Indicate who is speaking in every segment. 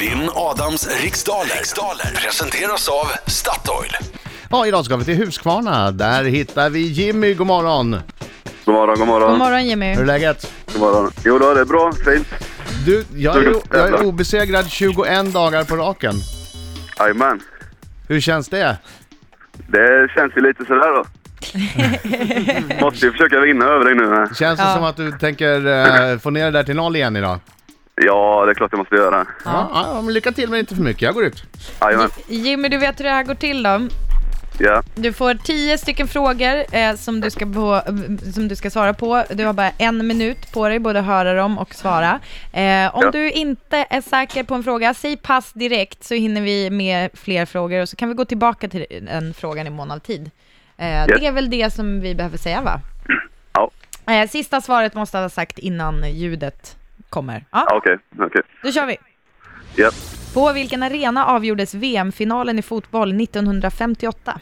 Speaker 1: Vinn Adams riksdaler. riksdaler presenteras av Statoil.
Speaker 2: Ja, idag ska vi till Huskvarna. Där hittar vi Jimmy. God morgon!
Speaker 3: God morgon, god morgon.
Speaker 4: God morgon Jimmy.
Speaker 2: Hur är läget?
Speaker 3: God morgon. Jo då, det är bra. Fint.
Speaker 2: Du, jag är, jag är obesegrad 21 dagar på raken.
Speaker 3: Jajamän.
Speaker 2: Hur känns det?
Speaker 3: Det känns ju lite sådär då. Måste ju försöka vinna över dig nu. med.
Speaker 2: Känns det
Speaker 4: Ja.
Speaker 2: som att du tänker eh, få ner det där till noll igen idag?
Speaker 3: Ja, det är klart jag måste göra.
Speaker 2: Ja. Ja, men lycka till men inte för mycket. Jag går ut.
Speaker 3: Jajamän.
Speaker 4: Jimmy, du vet hur det här går till då?
Speaker 3: Ja.
Speaker 4: Du får tio stycken frågor eh, som, du ska på, som du ska svara på. Du har bara en minut på dig, både att höra dem och svara. Eh, om
Speaker 3: Ja.
Speaker 4: du inte är säker på en fråga, säg pass direkt så hinner vi med fler frågor och så kan vi gå tillbaka till den frågan i mån av tid. Eh, Det är väl det som vi behöver säga va?
Speaker 3: Ja,
Speaker 4: Eh, sista svaret måste ha sagt innan ljudet kommer.
Speaker 3: Ja,
Speaker 4: Ja,
Speaker 3: ah, okej. Okej.
Speaker 4: då kör vi.
Speaker 3: Ja.
Speaker 4: På vilken arena avgjordes VM-finalen i fotboll 1958?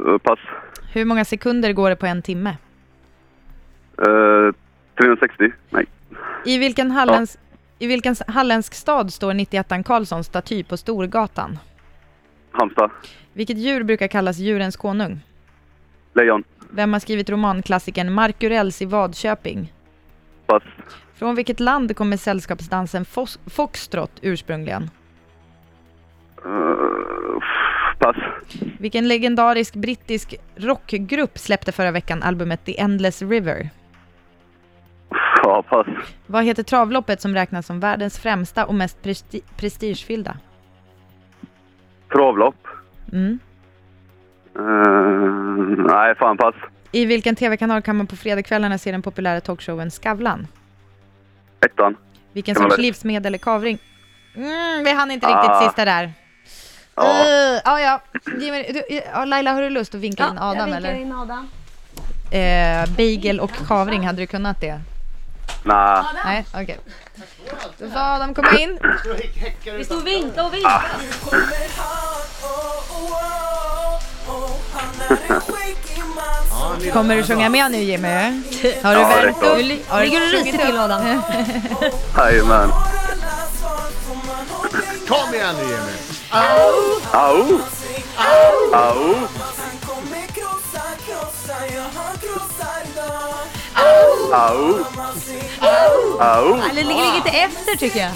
Speaker 3: Eh, Pass.
Speaker 4: Hur många sekunder går det på en timme?
Speaker 3: Eh, 360? Nej.
Speaker 4: I vilken, halländsk, I vilken halländsk stad står 91an Karlssons staty på Storgatan?
Speaker 3: Halmstad?
Speaker 4: Vilket djur brukar kallas djurens konung?
Speaker 3: Lejon?
Speaker 4: Vem har skrivit romanklassikern Markurells i Vadköping?
Speaker 3: Pass.
Speaker 4: Från vilket land kommer sällskapsdansen fos- foxtrot ursprungligen?
Speaker 3: Eh, pass.
Speaker 4: Vilken legendarisk brittisk rockgrupp släppte förra veckan albumet The Endless River?
Speaker 3: Ja, pass.
Speaker 4: Vad heter travloppet som räknas som världens främsta och mest presti- prestigefyllda?
Speaker 3: Travlopp?
Speaker 4: Mm.
Speaker 3: Eh, nej, fan pass.
Speaker 4: I vilken tv-kanal kan man på fredagskvällarna se den populära talkshowen Skavlan?
Speaker 3: Ettan?
Speaker 4: Vilken
Speaker 3: Kan man
Speaker 4: sorts
Speaker 3: det?
Speaker 4: livsmedel är kavring? Mm, vi hann inte riktigt
Speaker 3: Ah.
Speaker 4: sista där.
Speaker 3: Ja.
Speaker 4: Uh, ja, ja. Jimmy, du, ja, Laila, har du lust att vinka in
Speaker 5: jag
Speaker 4: Adam
Speaker 5: vinkar
Speaker 4: eller?
Speaker 5: in Adam.
Speaker 4: Eh, bagel och kavring, hade du kunnat det?
Speaker 3: Nej.
Speaker 4: Nej, okej. Då får Adam komma in.
Speaker 5: Vi stod och vinkade och vinkade.
Speaker 4: Kommer du sjunga med nu Jimmy? Har du
Speaker 3: Ja, det är
Speaker 4: värmt
Speaker 3: klart.
Speaker 4: upp? Har
Speaker 5: Ah. Ligger du och ryser till Adam?
Speaker 3: Jajamän.
Speaker 2: Kom igen nu Jimmy!
Speaker 3: Au! Au! Au! Au!
Speaker 5: Eller ligger lite efter tycker jag.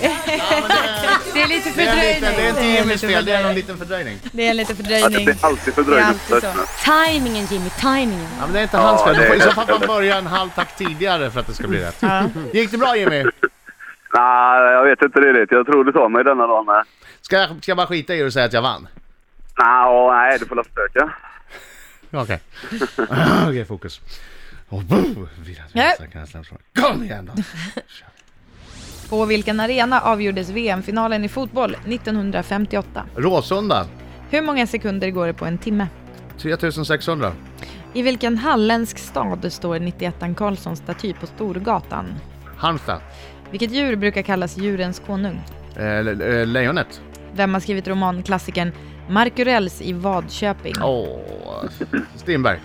Speaker 4: Det är lite
Speaker 2: Det är, en liten, det är
Speaker 4: fördröjning.
Speaker 2: inte Jimmys fel, det är någon
Speaker 4: fördröjning.
Speaker 2: liten fördröjning.
Speaker 4: Det är lite
Speaker 3: Ja, det
Speaker 4: fördröjning.
Speaker 3: blir alltid fördröjning.
Speaker 4: Det är alltid så.
Speaker 5: Timingen Jimmy, timingen.
Speaker 2: Ja, men det är inte hans fel.
Speaker 3: det
Speaker 2: Det får- I
Speaker 3: är-
Speaker 2: så fall får man börja en halv takt tidigare för att det ska bli rätt. Gick det bra Jimmy?
Speaker 3: Nej, jag vet inte riktigt. Jag tror du tar mig denna dagen med.
Speaker 2: Ska jag, ska jag bara skita i det och säga att jag vann?
Speaker 3: Nej, åh, nej, du får la försöka.
Speaker 2: Ja, Okej. Okej, fokus. Och boom! Vira, vira,
Speaker 4: Nej.
Speaker 2: starka, starka, starka. Kom igen då!
Speaker 4: På vilken arena avgjordes VM-finalen i fotboll 1958?
Speaker 2: Råsunda,
Speaker 4: Hur många sekunder går det på en timme?
Speaker 2: 3600.
Speaker 4: I vilken halländsk stad står 91an Karlssons staty på Storgatan?
Speaker 2: Halmstad,
Speaker 4: Vilket djur brukar kallas djurens konung?
Speaker 2: eh, le- eh, Lejonet.
Speaker 4: Vem har skrivit romanklassikern Markurells i Vadköping?
Speaker 2: Åh, Strindberg.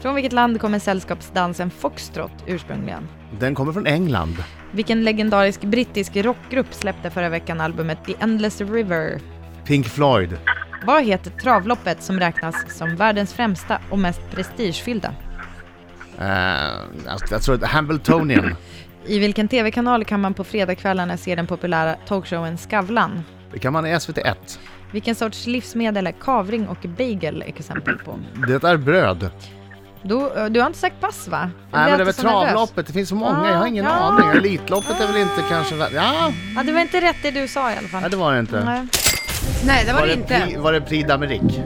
Speaker 4: Från vilket land kommer sällskapsdansen foxtrot ursprungligen?
Speaker 2: Den kommer från England.
Speaker 4: Vilken legendarisk brittisk rockgrupp släppte förra veckan albumet The Endless River?
Speaker 2: Pink Floyd.
Speaker 4: Vad heter travloppet som räknas som världens främsta och mest prestigefyllda?
Speaker 2: Eh, jag- jag tror att Hambletonian.
Speaker 4: I vilken tv-kanal kan man på fredagskvällarna se den populära talkshowen Skavlan?
Speaker 2: Det kan man i SVT1.
Speaker 4: Vilken sorts livsmedel är kavring och bagel exempel på?
Speaker 2: Det är bröd.
Speaker 4: Du, du har inte sagt pass va? Du
Speaker 2: Nej men
Speaker 4: lät
Speaker 2: det är väl
Speaker 4: så nervös.
Speaker 2: travloppet, det finns så många, jag har ingen
Speaker 4: Ja.
Speaker 2: aning. Elitloppet är väl inte kanske... Ja,
Speaker 4: Ja, det var inte rätt det du sa i alla fall.
Speaker 2: nej det var det inte.
Speaker 4: Nej. Nej, det var,
Speaker 2: Var
Speaker 4: det
Speaker 2: det,
Speaker 4: inte.
Speaker 2: pri, var det Prix d'Amérique?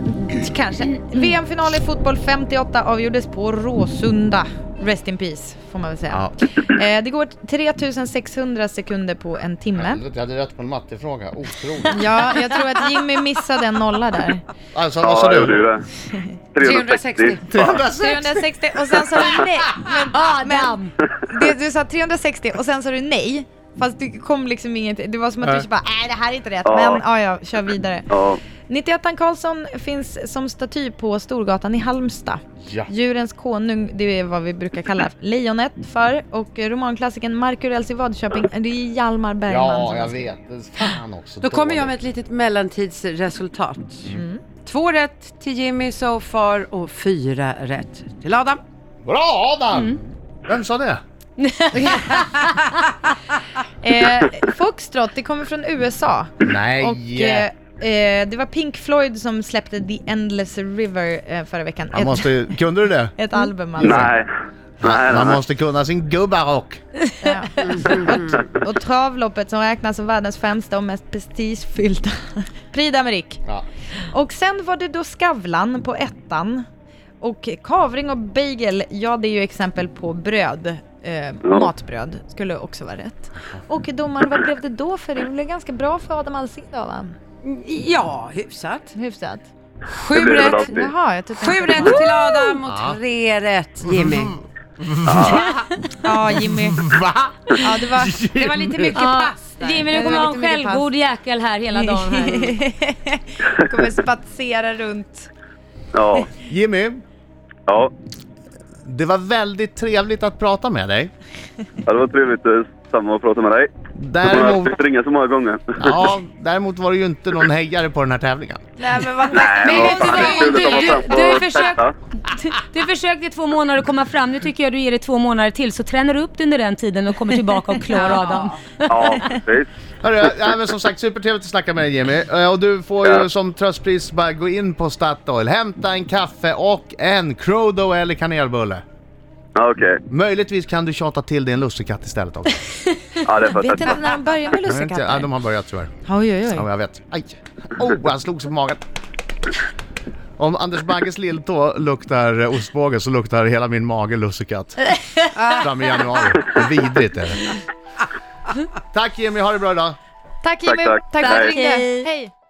Speaker 4: Kanske. VM-final i fotboll 58 avgjordes på Råsunda. Rest in peace, får man väl säga. Eh, det går 3600 sekunder på en timme.
Speaker 2: Jag hade rätt på en mattefråga, otroligt.
Speaker 4: Ja, jag tror att Jimmy missade en nolla där.
Speaker 2: Alltså vad
Speaker 3: Ja,
Speaker 2: sa
Speaker 3: jag gjorde ju
Speaker 2: du?
Speaker 3: det. 360.
Speaker 2: 360?
Speaker 4: 360 och sen sa du nej.
Speaker 5: Adam!
Speaker 4: Det, du sa 360 och sen sa du nej. Fast det kom liksom inget. Det var som att
Speaker 2: Nej.
Speaker 4: du bara, nej det här är inte rätt.
Speaker 3: Ja.
Speaker 4: Men ja, ja, kör vidare.
Speaker 3: Ja,
Speaker 4: 91an Karlsson finns som staty på Storgatan i Halmstad.
Speaker 2: Ja.
Speaker 4: Djurens konung, det är vad vi brukar kalla lejonet för. Och romanklassikern Markurells i Vadköping, det är Hjalmar Bergman.
Speaker 2: Ja,
Speaker 4: som
Speaker 2: jag
Speaker 4: har skrivit.
Speaker 2: vet. Fan också.
Speaker 6: Då kommer jag med
Speaker 2: dåligt.
Speaker 6: ett litet mellantidsresultat. Två rätt till Jimmy so far och fyra rätt till Adam.
Speaker 2: Bra Adam! Vem sa det?
Speaker 4: Eh, Foxtrot, det kommer från USA.
Speaker 2: Nej!
Speaker 4: Och eh, eh, det var Pink Floyd som släppte The Endless River eh, förra veckan.
Speaker 2: man
Speaker 4: Ett,
Speaker 2: måste, ju- kunde du det?
Speaker 4: ett album alltså.
Speaker 3: Nej. Nej, nej,
Speaker 2: Man
Speaker 3: nej.
Speaker 2: måste kunna sin gubbarock.
Speaker 4: Ja. Och, och travloppet som räknas som världens främsta och mest prestigefyllda. Prix d'Amérique.
Speaker 2: Ja.
Speaker 4: Och sen var det då Skavlan på ettan. Och kavring och bagel, ja det är ju exempel på bröd. Eh, matbröd skulle också vara rätt. Och domaren, vad blev det då för det? Det blev ganska bra för Adam Alsing då va?
Speaker 6: Ja, hyfsat.
Speaker 4: Hyfsat.
Speaker 6: Sju
Speaker 3: blir väl
Speaker 6: rätt.
Speaker 3: alltid.
Speaker 4: Jaha, jag tyckte...
Speaker 6: Sju rätt till Adam
Speaker 2: Ja.
Speaker 6: och tre rätt Jimmy.
Speaker 4: Ja, Jimmy.
Speaker 2: Va?
Speaker 4: Ja, det var...
Speaker 6: Det var lite mycket
Speaker 5: Ja,
Speaker 6: pass där.
Speaker 5: Ah, Jimmy, du
Speaker 4: Det
Speaker 5: kommer
Speaker 4: var
Speaker 5: ha en
Speaker 4: lite mycket
Speaker 5: självgod jäkel här hela dagen. Här.
Speaker 4: Kommer spatsera runt.
Speaker 3: Ja.
Speaker 2: Jimmy,
Speaker 3: Ja.
Speaker 2: det var väldigt trevligt att prata med dig.
Speaker 3: ja, det var trevligt. eh, Samma att prata med dig. Jag har
Speaker 2: Däremot,
Speaker 3: fått ringa så många gånger.
Speaker 2: Äh, ja, däremot var det ju inte någon hejare på den här tävlingen.
Speaker 4: Nej, men vad
Speaker 3: Nej,
Speaker 5: vet du
Speaker 3: vad fan,
Speaker 5: vad?
Speaker 3: det är kul att komma fram
Speaker 5: Du- du-
Speaker 3: på
Speaker 5: du
Speaker 3: och
Speaker 5: försöker-
Speaker 3: testa.
Speaker 5: Du försökte i två månader att komma fram. Nu tycker jag du ger det två månader till. Så tränar du upp dig under den tiden och kommer tillbaka och klår Adam.
Speaker 3: Ja, precis.
Speaker 2: Hörru, ja, men som sagt, supertrevligt att snacka med dig Jimmy. Eh, Och du får ju
Speaker 3: Ja.
Speaker 2: som tröstpris bara gå in på Statoil, hämta en kaffe och en Crodo eller kanelbulle.
Speaker 3: Ja, okej.
Speaker 2: Möjligtvis kan du tjata till dig en lussekatt istället också.
Speaker 3: Ja, det
Speaker 4: Vet
Speaker 3: fattar
Speaker 4: inte
Speaker 3: jag.
Speaker 4: när de börjar
Speaker 2: Jag
Speaker 4: med
Speaker 2: vet inte, Ja,
Speaker 4: lussekatter.
Speaker 2: de har börjat tyvärr.
Speaker 4: Oj, oj,
Speaker 2: Ja,
Speaker 4: oj.
Speaker 2: jag vet. Aj! Oh, han slog sig på magen. Om Anders Bagges lilltå luktar eh, ostbåge så luktar hela min mage lussekatt. Fram i januari. Vidrigt är det. Tack Jimmy, ha det bra idag.
Speaker 4: Tack Jimmy.
Speaker 3: tack.
Speaker 4: Tá Tack för att du
Speaker 3: Tack.
Speaker 4: ringde. Hej.